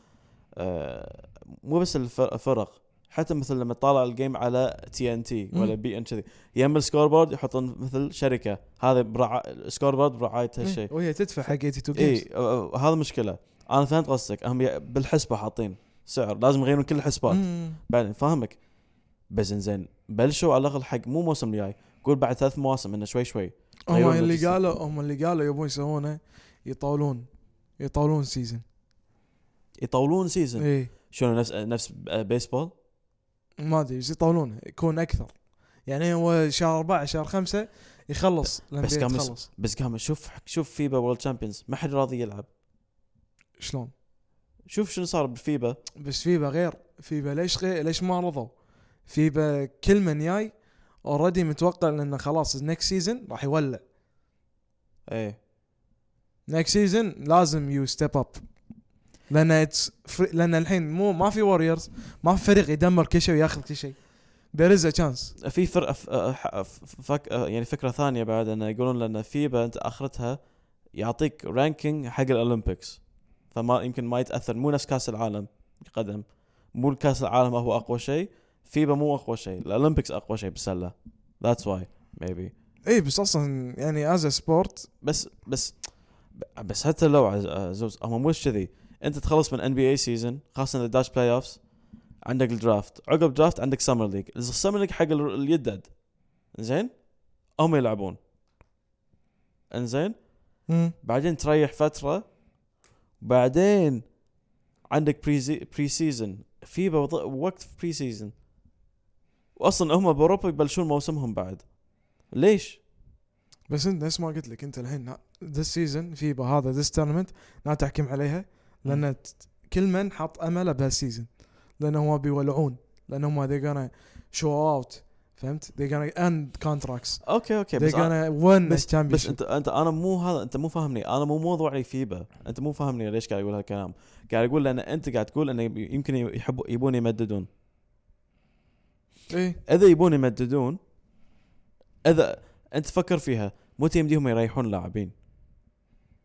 Speaker 1: آه مو بس الف- الفرق حتى مثل لما تطالع الجيم على تي ان تي ولا
Speaker 2: مم.
Speaker 1: بي ان كذي يم السكور بورد يحطون مثل شركه هذا برع... السكور بورد برعايه
Speaker 2: إيه،
Speaker 1: هالشيء
Speaker 2: وهي تدفع حق 82 جيمز
Speaker 1: اي آه، هذا مشكله انا فهمت قصدك هم ي- بالحسبه حاطين سعر لازم يغيرون كل الحسبات
Speaker 2: مم.
Speaker 1: بعدين فاهمك بس انزين بلشوا على الاقل حق مو موسم الجاي قول بعد ثلاث مواسم انه شوي شوي
Speaker 2: هم
Speaker 1: غيروا
Speaker 2: اللي
Speaker 1: المجلس.
Speaker 2: قالوا هم اللي قالوا يبون يسوونه يطولون يطولون سيزون
Speaker 1: يطولون سيزون
Speaker 2: اي
Speaker 1: شنو نفس نفس بيسبول
Speaker 2: إيه. ما ادري بس يطولونه يكون اكثر يعني هو شهر أربعة شهر خمسة يخلص
Speaker 1: بس
Speaker 2: بس
Speaker 1: كان مس-
Speaker 2: يخلص
Speaker 1: بس قام شوف شوف فيبا وورلد تشامبيونز ما حد راضي يلعب
Speaker 2: شلون
Speaker 1: شوف شنو صار بفيبا
Speaker 2: بس فيبا غير فيبا ليش غير ليش ما رضوا فيبا كل من جاي اوريدي متوقع انه خلاص النكست سيزون راح يولع
Speaker 1: ايه
Speaker 2: نكست سيزون لازم يو ستيب اب لان اتس لان الحين مو ما في ووريرز ما في فريق يدمر كل شيء وياخذ كل شيء there is a chance
Speaker 1: في فرقه ف- آه، ح- آه، ف- فك آه، يعني فكره ثانيه بعد انه يقولون لان فيبا انت اخرتها يعطيك رانكينج حق الاولمبيكس فما يمكن ما يتاثر مو نفس كاس العالم قدم مو كاس العالم هو اقوى شيء فيبا مو اقوى شيء الاولمبيكس اقوى شيء بالسله ذاتس واي ميبي
Speaker 2: اي إيه، بس اصلا يعني از سبورت
Speaker 1: بس بس بس حتى لو عز- عزوز هم مو إيش كذي انت تخلص من ان بي اي سيزون خاصه اذا داش بلاي اوفز عندك الدرافت عقب درافت عندك سمر ليج السمر ليج حق ال- اليدد زين هم يلعبون انزين بعدين تريح فتره بعدين عندك بري بري سيزون في بوض- وقت في بري سيزون واصلا هم باوروبا يبلشون موسمهم بعد ليش؟
Speaker 2: بس انت نفس ما قلت لك انت الحين ذس سيزون فيبا هذا ذس تورنمنت لا تحكم عليها لان ت- كل من حط امله بهالسيزون لانه هم بيولعون لانهم هم they're gonna show out فهمت؟ they're gonna end contracts
Speaker 1: اوكي اوكي
Speaker 2: they're
Speaker 1: بس أنا-
Speaker 2: gonna win
Speaker 1: بس- بس
Speaker 2: this championship
Speaker 1: انت انت انا مو هذا انت مو فاهمني انا مو موضوعي فيبا انت مو فاهمني ليش قاعد اقول هالكلام قاعد اقول لان انت قاعد تقول انه يمكن يحب يبون يمددون
Speaker 2: اي
Speaker 1: اذا يبون يمددون اذا انت فكر فيها متى يمديهم يريحون لاعبين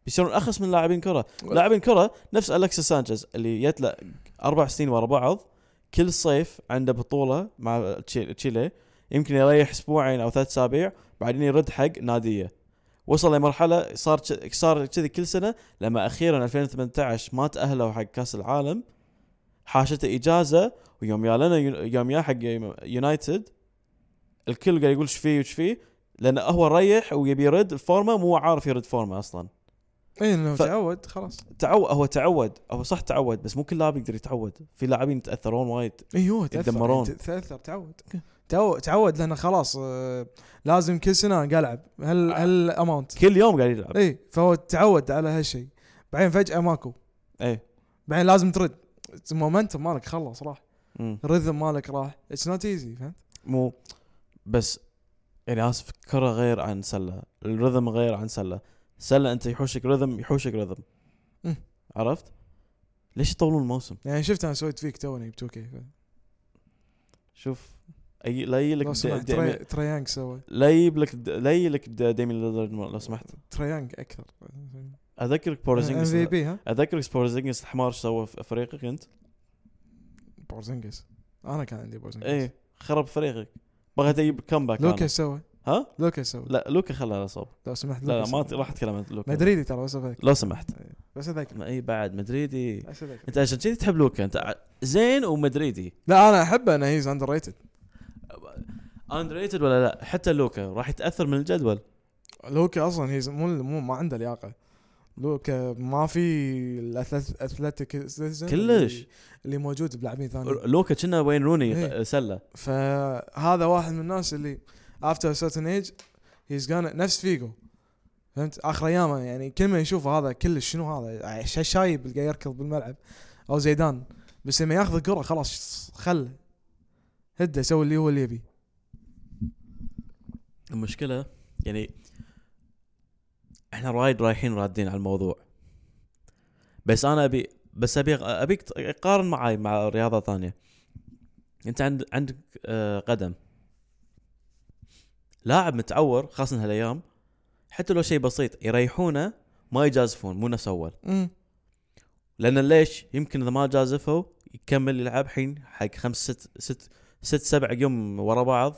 Speaker 1: بيصيرون اخس من لاعبين كره لاعبين كره نفس الكسا سانشيز اللي جت له اربع سنين ورا بعض كل صيف عنده بطوله مع تشي- تشيلي يمكن يريح اسبوعين او ثلاث اسابيع بعدين يرد حق ناديه وصل لمرحله صار ج- صار كذي كل سنه لما اخيرا 2018 ما تاهلوا حق كاس العالم حاشته اجازه ويوم يا لنا يو- يوم يا حق يونايتد الكل قاعد يقول ايش فيه وش فيه لانه هو ريح ويبي يرد الفورمه مو عارف يرد فورمه اصلا
Speaker 2: اي لو
Speaker 1: ف-
Speaker 2: إيه، تعود خلاص
Speaker 1: تعود هو تعود هو صح تعود بس مو كل لاعب يقدر يتعود في لاعبين يتاثرون وايد
Speaker 2: اي هو تاثر
Speaker 1: يتدمرون.
Speaker 2: يعني تاثر تعود تعود تعود لانه خلاص آه، لازم كل سنه قاعد العب هل
Speaker 1: آه.
Speaker 2: هل اماونت
Speaker 1: كل يوم قاعد يلعب
Speaker 2: اي إيه، فهو تعود على هالشيء بعدين فجاه ماكو
Speaker 1: اي
Speaker 2: بعدين لازم ترد المومنتم مالك خلص راح
Speaker 1: مم.
Speaker 2: الريذم مالك راح اتس نوت ايزي فهمت؟
Speaker 1: مو بس يعني اسف كره غير عن سله الرذم غير عن سله سله انت يحوشك رذم يحوشك رذم
Speaker 2: مم.
Speaker 1: عرفت ليش يطولون الموسم
Speaker 2: يعني شفت انا سويت فيك توني ب 2 كي
Speaker 1: شوف اي لا يجيب
Speaker 2: لو سمحت تري-
Speaker 1: لك يعني
Speaker 2: تريانج سوى
Speaker 1: لا يجيب لك لا يجيب لك ديمين ليلارد لو سمحت
Speaker 2: تريانج اكثر
Speaker 1: اذكرك
Speaker 2: ام في
Speaker 1: بورزينجس
Speaker 2: بي ها
Speaker 1: اذكرك بورزينجس الحمار ايش سوى في فريقك انت
Speaker 2: بورزنجس انا كان عندي بورزنجس
Speaker 1: ايه خرب فريقك بغيت اجيب كمباك
Speaker 2: لوكا سوى
Speaker 1: ها؟
Speaker 2: لوكا سوى
Speaker 1: لا لوكا خلاه اصاب
Speaker 2: لو سمحت
Speaker 1: لا
Speaker 2: لوكا
Speaker 1: لا ما
Speaker 2: سوى.
Speaker 1: ت- راح اتكلم عن لوكا
Speaker 2: مدريدي ترى بس اذاكر
Speaker 1: لو سمحت
Speaker 2: بس اذاكر
Speaker 1: اي بعد مدريدي
Speaker 2: بس اذاكر
Speaker 1: انت عشان كذي تحب لوكا انت ع- زين ومدريدي
Speaker 2: لا انا احبه انه هيز اندر ريتد
Speaker 1: اندر ريتد ولا لا حتى لوكا راح يتاثر من الجدول
Speaker 2: لوكا اصلا هيز مو مو ما عنده لياقه لوكا ما في الاثلتيك
Speaker 1: كلش.
Speaker 2: اللي موجود بلاعبين ثانيين
Speaker 1: لوكا كنا وين روني
Speaker 2: إيه.
Speaker 1: ف- سله
Speaker 2: فهذا واحد من الناس اللي افتر سيرتن ايج هيز غانا نفس فيجو فهمت اخر ايامه يعني كل ما يشوفه هذا كلش شنو هذا ش- شايب اللي قاعد يركض بالملعب او زيدان بس لما ياخذ الكره خلاص خله هده سوي اللي هو اللي يبي
Speaker 1: المشكله يعني احنا وايد رايحين رادين على الموضوع بس انا ابي بس ابي ابيك تقارن معاي مع رياضه ثانيه انت عند عندك آه، قدم لاعب متعور خاصه هالايام حتى لو شيء بسيط يريحونه ما يجازفون مو نفس اول
Speaker 2: امم
Speaker 1: لان ليش يمكن اذا ما جازفوا يكمل يلعب حين حق خمس ست ست ست سبع يوم ورا بعض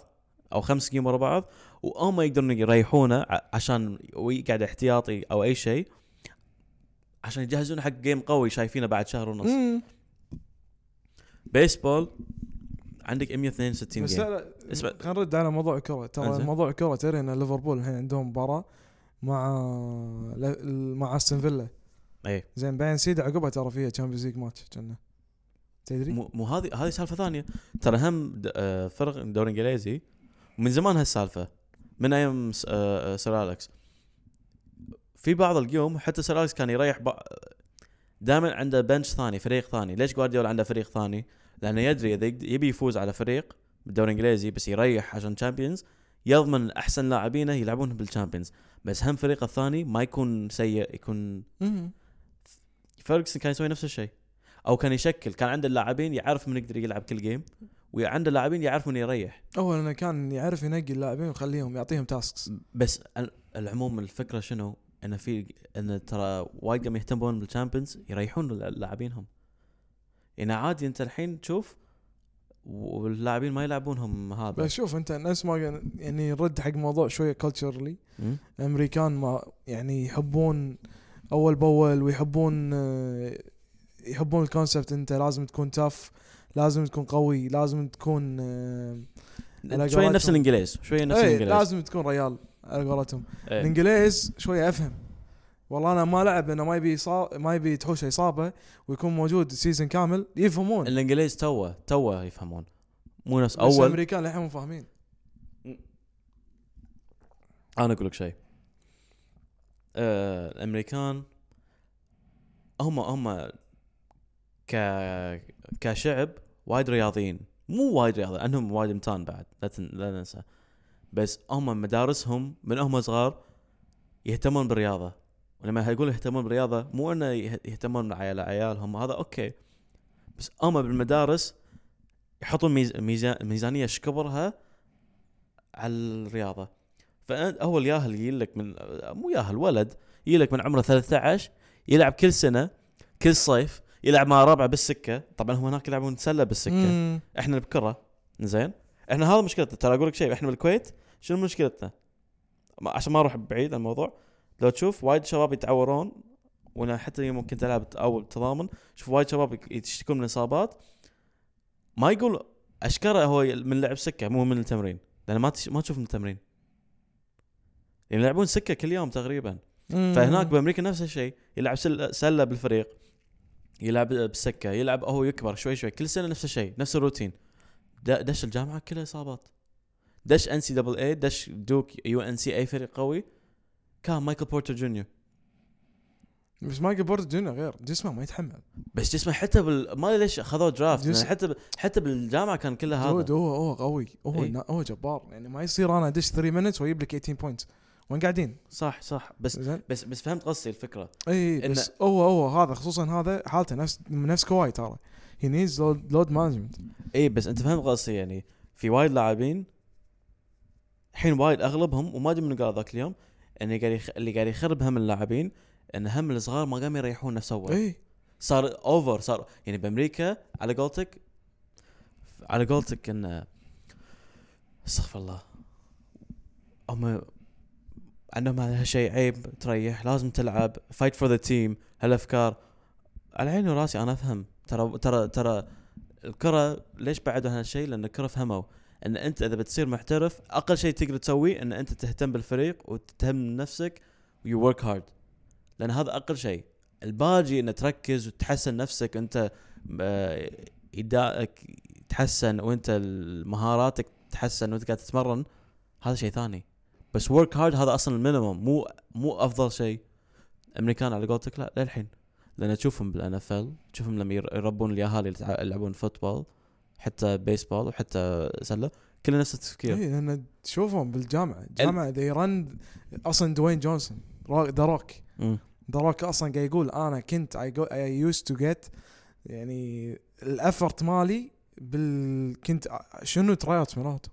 Speaker 1: او خمس جيم ورا بعض وهم يقدرون يريحونه ع- عشان ويقعد احتياطي او اي شيء عشان يجهزون حق جيم قوي شايفينه بعد شهر ونص بيسبول عندك 162
Speaker 2: بس
Speaker 1: جيم
Speaker 2: لا لا
Speaker 1: اسمع.
Speaker 2: خلينا نرد على موضوع الكره ترى
Speaker 1: انزين.
Speaker 2: موضوع الكره ترى ان ليفربول الحين عندهم مباراه مع ل- مع استون فيلا
Speaker 1: اي
Speaker 2: زين بعدين سيدي عقبها ترى فيها تشامبيونز ليج ماتش كنا تدري؟
Speaker 1: مو مو هذه هذه سالفه ثانيه ترى هم د- آه، فرق دوري انجليزي من زمان هالسالفه من ايام س- آه، آه، سير اليكس في بعض اليوم حتى سير اليكس كان يريح بع... دائما عنده بنش ثاني فريق ثاني ليش جوارديولا عنده فريق ثاني لانه يدري اذا يقد- يبي يفوز على فريق بالدوري الانجليزي بس يريح عشان تشامبيونز يضمن احسن لاعبينه يلعبون بالتشامبيونز بس هم فريق الثاني ما يكون سيء يكون
Speaker 2: مم.
Speaker 1: فيرجسون كان يسوي نفس الشيء او كان يشكل كان عنده اللاعبين يعرف من يقدر يلعب كل جيم وعنده لاعبين يعرف من يريح
Speaker 2: اول انه كان يعرف ينقي اللاعبين ويخليهم يعطيهم تاسكس
Speaker 1: بس ال- العموم الفكره شنو انه في ان ترى وايد قام يهتمون بالشامبيونز يريحون الل- لاعبينهم يعني عادي انت الحين تشوف واللاعبين ما يلعبونهم هذا
Speaker 2: بس شوف انت نفس ما قل- يعني رد حق موضوع شويه كلتشرلي
Speaker 1: م?
Speaker 2: الامريكان ما يعني يحبون اول باول ويحبون آه، يحبون الكونسبت انت لازم تكون تاف لازم تكون قوي لازم تكون آه، على
Speaker 1: شوي نفس
Speaker 2: قولتهم.
Speaker 1: الانجليز شوي نفس
Speaker 2: ايه
Speaker 1: الانجليز
Speaker 2: لازم تكون ريال على قولتهم
Speaker 1: إيه.
Speaker 2: الانجليز شويه افهم والله انا ما لعب لانه ما يبي صا... ما يبي تحوشه اصابه ويكون موجود سيزون كامل يفهمون
Speaker 1: الانجليز توه توه يفهمون مو نفس
Speaker 2: بس
Speaker 1: اول
Speaker 2: الامريكان للحين مو فاهمين
Speaker 1: انا اقول لك شيء آه، الامريكان هم هم ك كشعب وايد رياضيين مو وايد رياضي عندهم وايد امتان بعد لا, تن... لا ننسى بس هم مدارسهم من هم صغار يهتمون بالرياضه ولما اقول يهتمون بالرياضه مو انه يه- يهتمون على عيالهم هذا اوكي بس هم بالمدارس يحطون ميز... ميزا... ميزانيه شكبرها على الرياضه فاول ياهل يجي لك من مو ياهل ولد يجي لك من عمره 13 يلعب كل سنه كل صيف يلعب مع ربعه بالسكه طبعا هو هناك يلعبون سله بالسكه
Speaker 2: مم.
Speaker 1: احنا بكره زين احنا هذا مشكلتنا ترى اقول لك شيء احنا بالكويت شنو مشكلتنا؟ ما- عشان ما اروح بعيد عن الموضوع لو تشوف وايد شباب يتعورون وانا حتى اليوم كنت العب او تضامن شوف وايد شباب يشتكون من اصابات ما يقول اشكره هو من لعب سكه مو من التمرين لان ما تش... ما تشوف من التمرين يعني يلعبون سكه كل يوم تقريبا
Speaker 2: مم.
Speaker 1: فهناك بامريكا نفس الشيء يلعب سل- سله بالفريق يلعب بالسكه يلعب هو يكبر شوي شوي كل سنه نفس الشيء نفس الروتين د- دش الجامعه كلها اصابات دش ان سي دبل اي دش دوك يو ان سي اي فريق قوي كان مايكل بورتر جونيور
Speaker 2: بس مايكل بورتر جونيور غير جسمه ما يتحمل
Speaker 1: بس جسمه حتى بال ما أدري ليش اخذوه درافت
Speaker 2: جس-
Speaker 1: لأن حتى ب... حتى بالجامعه كان كله
Speaker 2: دود
Speaker 1: هذا إيه.
Speaker 2: هو هو قوي هو
Speaker 1: إي.
Speaker 2: نا- هو جبار يعني ما يصير انا ادش 3 مينتس واجيب لك 18 بوينت وين قاعدين
Speaker 1: صح صح بس
Speaker 2: زين
Speaker 1: بس بس فهمت قصدي الفكره
Speaker 2: اي
Speaker 1: إن-
Speaker 2: بس هو هو هذا خصوصا هذا حالته نفس نفس كواي ترى هي نيدز لود مانجمنت
Speaker 1: اي إيه، بس انت فهمت قصدي يعني في وايد لاعبين الحين وايد اغلبهم وما ادري من قال ذاك اليوم ان قاعد يخ... اللي قاعد يخرب هم اللاعبين ان هم الصغار ما قاموا يريحون نفس اول
Speaker 2: اي
Speaker 1: صار اوفر صار يعني بامريكا على قولتك على قولتك ان استغفر الله هم عندهم هذا الشيء عيب تريح لازم تلعب فايت فور ذا تيم هالافكار على عيني وراسي انا افهم ترى ترى ترى الكره ليش بعدوا عن هالشيء لان الكره فهموا ان انت اذا بتصير محترف اقل شيء تقدر تسويه ان انت تهتم بالفريق وتهتم نفسك ويو ورك هارد لان هذا اقل شيء الباقي انه تركز وتحسن نفسك انت آه، ادائك تحسن وانت ال- مهاراتك تحسن وانت قاعد تتمرن هذا شيء ثاني بس ورك هارد هذا اصلا المينيمم مو مو افضل شيء امريكان على قولتك لا للحين لان تشوفهم بالان اف ال تشوفهم لما ير- يربون الياهال اللي يتع- يلعبون فوتبول حتى بيسبول وحتى سله كله نفس التفكير
Speaker 2: اي لان إيه، تشوفهم بالجامعه الجامعه ذي رن اصلا دوين جونسون ذا روك
Speaker 1: مم.
Speaker 2: ذا روك اصلا قاعد يقول انا كنت اي جو اي يوز تو جيت يعني الافرت مالي بال كنت ع- شنو ترايوت مراته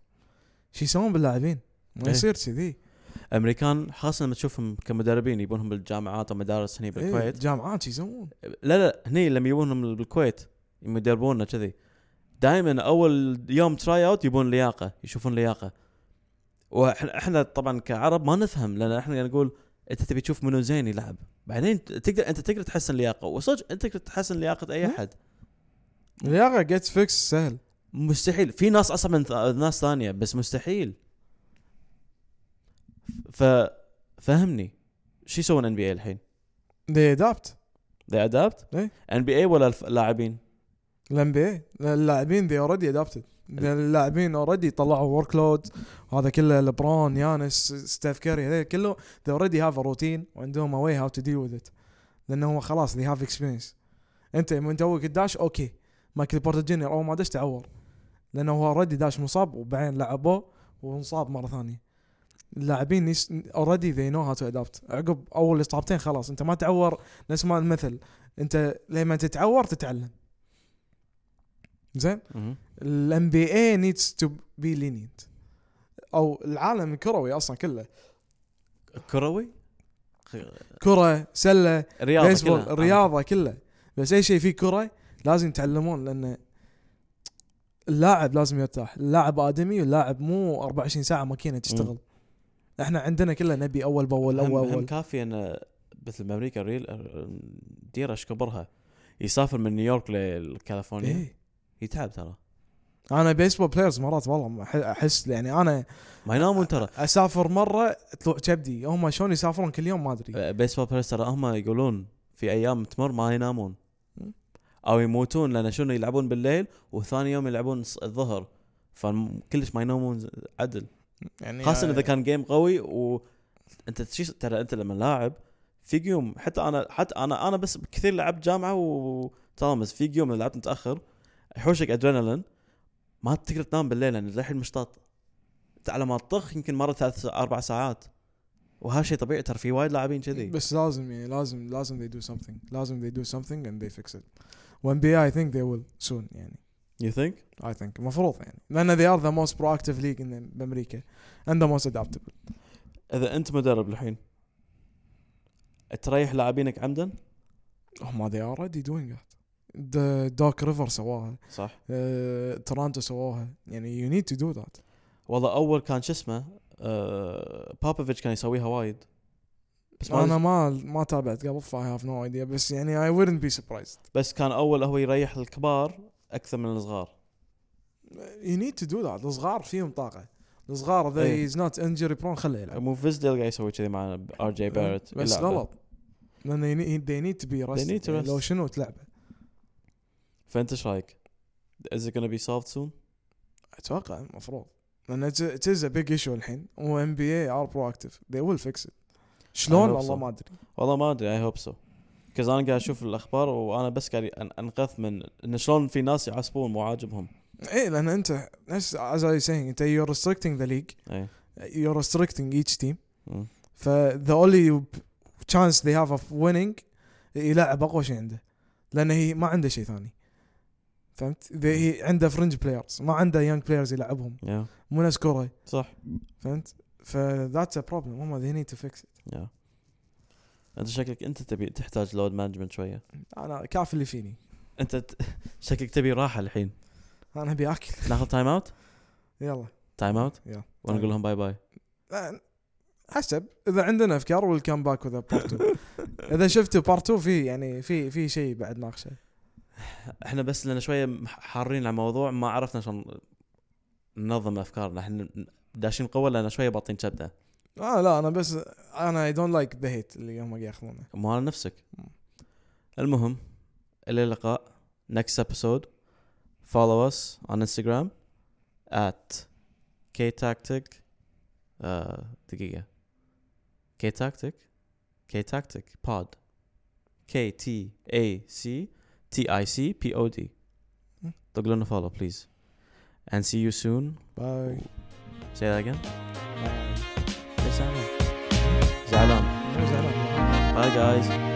Speaker 2: شو يسوون باللاعبين ما
Speaker 1: إيه.
Speaker 2: يصير كذي
Speaker 1: امريكان خاصه لما تشوفهم كمدربين يبونهم بالجامعات ومدارس هني
Speaker 2: إيه،
Speaker 1: بالكويت
Speaker 2: جامعات شو يسوون
Speaker 1: لا لا هني لما يبونهم بالكويت يدربونا كذي دائما اول يوم تراي اوت يبون لياقه يشوفون لياقه واحنا احنا طبعا كعرب ما نفهم لان احنا قاعد نقول انت تبي تشوف منو زين يلعب بعدين ت- تقدر انت تقدر تحسن لياقه وصدق انت تقدر تحسن لياقه اي
Speaker 2: مم.
Speaker 1: احد
Speaker 2: اللياقه جيت فيكس سهل
Speaker 1: مستحيل في ناس اصعب من ث- ناس ثانيه بس مستحيل ففهمني شو يسوون ان بي اي الحين؟
Speaker 2: ذي ادابت
Speaker 1: ذي ادابت؟
Speaker 2: إيه.
Speaker 1: ان بي اي ولا الف- اللاعبين؟
Speaker 2: الام بي اللاعبين ذي اوريدي ادابتد يعني اللاعبين اوريدي طلعوا ورك لود وهذا كله لبرون يانس ستيف كاري هذول كله ذي اوريدي هاف روتين وعندهم واي هاو تو ديل وذ ات لانه هو خلاص ذي هاف اكسبيرينس انت من توك الداش اوكي مايكل بورتر جونيور اول ما دش تعور لانه هو اوريدي داش مصاب وبعدين لعبوه وانصاب مره ثانيه اللاعبين اوريدي ذي نو هاو تو ادابت عقب اول اصابتين خلاص انت ما تعور نفس ما المثل انت لما تتعور تتعلم زين
Speaker 1: مهم.
Speaker 2: الام بي اي نيدز تو بي لينينت او العالم الكروي اصلا كله
Speaker 1: كروي؟
Speaker 2: كره سله
Speaker 1: رياضه
Speaker 2: بيسبول
Speaker 1: كلها.
Speaker 2: الرياضه كله بس اي شيء فيه كره لازم يتعلمون لان اللاعب لازم يرتاح اللاعب ادمي واللاعب مو 24 ساعه ماكينه تشتغل احنا عندنا كله نبي اول باول
Speaker 1: هم,
Speaker 2: اول
Speaker 1: هم
Speaker 2: اول
Speaker 1: كافي ان مثل ما امريكا ريل دير ايش كبرها يسافر من نيويورك لكاليفورنيا
Speaker 2: إيه.
Speaker 1: يتعب ترى
Speaker 2: انا بيسبول بلايرز مرات والله أح- احس يعني انا
Speaker 1: ما ينامون ترى
Speaker 2: اسافر مره طلوع كبدي هم شلون يسافرون كل يوم ما ادري
Speaker 1: آه، بيسبول بلايرز ترى هم يقولون في ايام تمر ما ينامون او يموتون لان شنو يلعبون بالليل وثاني يوم يلعبون الص- الظهر فكلش ما ينامون ز- عدل
Speaker 2: يعني
Speaker 1: خاصه اذا كان جيم قوي وانت تشي ترى انت لما لاعب في يوم حتى انا حتى انا انا بس كثير لعبت جامعه وتلامس في يوم لعبت متاخر يحوشك ادرينالين ما تقدر تنام بالليل لان للحين مشطاط أنت على ما تطخ يمكن مره ثلاث اربع ساعات وهذا شيء طبيعي ترى في وايد لاعبين كذي
Speaker 2: بس لازم يعني لازم لازم they do something لازم they do something and they fix it وان بي اي think they will soon يعني
Speaker 1: يو ثينك
Speaker 2: I think المفروض يعني لان they are the most proactive league in بامريكا and the most adaptable
Speaker 1: اذا انت مدرب الحين تريح لاعبينك عمدا
Speaker 2: هم they are already doing it The Dark River سواها
Speaker 1: صح
Speaker 2: آه، تورنتو سواها يعني you need to do that
Speaker 1: والله اول كان شو اسمه آه بابوفيتش كان يسويها وايد بس ما
Speaker 2: انا ما ما تابعت قبل ف I have no idea بس يعني I wouldn't be surprised
Speaker 1: بس كان اول هو يريح الكبار اكثر من الصغار
Speaker 2: you need to do that الصغار فيهم طاقه الصغار
Speaker 1: إيه.
Speaker 2: they is not injury prone خله يلعب
Speaker 1: مو فيزديل قاعد يسوي كذي مع ار جي إيه، بارت
Speaker 2: نعم. أه، إيه، بس غلط لان they need- they need to be
Speaker 1: They need
Speaker 2: rested
Speaker 1: to
Speaker 2: يعني لو
Speaker 1: rest.
Speaker 2: شنو تلعبه
Speaker 1: فانت ايش رايك؟ Is it gonna be solved soon؟
Speaker 2: اتوقع المفروض لان it's- it is a big issue الحين و ام بي اي ار proactive they will fix it شلون
Speaker 1: hope
Speaker 2: والله
Speaker 1: so.
Speaker 2: ما ادري
Speaker 1: والله ما ادري اي هوب سو كز انا قاعد اشوف الاخبار وانا بس قاعد أن- انغث من ان شلون في ناس يعصبون مو عاجبهم
Speaker 2: ايه لان انت as, as I was saying انت you're restricting the league
Speaker 1: اي
Speaker 2: you're restricting each team
Speaker 1: إيه. مم.
Speaker 2: ف the only chance they have of winning يلعب اقوى شيء عنده لان هي ما عنده شيء ثاني فهمت؟ They- هي عنده فرنج بلايرز ما عنده يونج بلايرز يلعبهم
Speaker 1: يا
Speaker 2: مو ناس كوره
Speaker 1: صح
Speaker 2: فهمت؟ ف that's a problem هم they need to fix it
Speaker 1: يا انت شكلك انت تبي تحتاج لود مانجمنت شويه
Speaker 2: انا كافي اللي فيني
Speaker 1: انت ت- شكلك تبي راحه الحين
Speaker 2: انا ابي اكل
Speaker 1: ناخذ تايم اوت
Speaker 2: يلا
Speaker 1: تايم اوت
Speaker 2: يلا
Speaker 1: ونقول لهم باي باي
Speaker 2: لا، حسب اذا عندنا افكار ويل كم باك وذا بارت 2 اذا شفتوا بارت 2 في يعني في في شيء بعد ناقشه
Speaker 1: احنا بس لنا شويه مح- حارين على الموضوع ما عرفنا شلون ننظم افكارنا احنا داشين قوه لان شويه باطين كبده
Speaker 2: اه لا انا بس انا اي دونت لايك ذا هيت اللي هم قاعد ياخذونه
Speaker 1: مو على نفسك المهم الى اللقاء next episode follow us on Instagram at ktactic آه دقيقة ktactic ktactic pod k t a c t i c p o d
Speaker 2: مم.
Speaker 1: طق لنا follow please and see you soon
Speaker 2: باي
Speaker 1: say that again
Speaker 2: باي. يا سلام.
Speaker 1: زعلان
Speaker 2: مو زعلان
Speaker 1: bye guys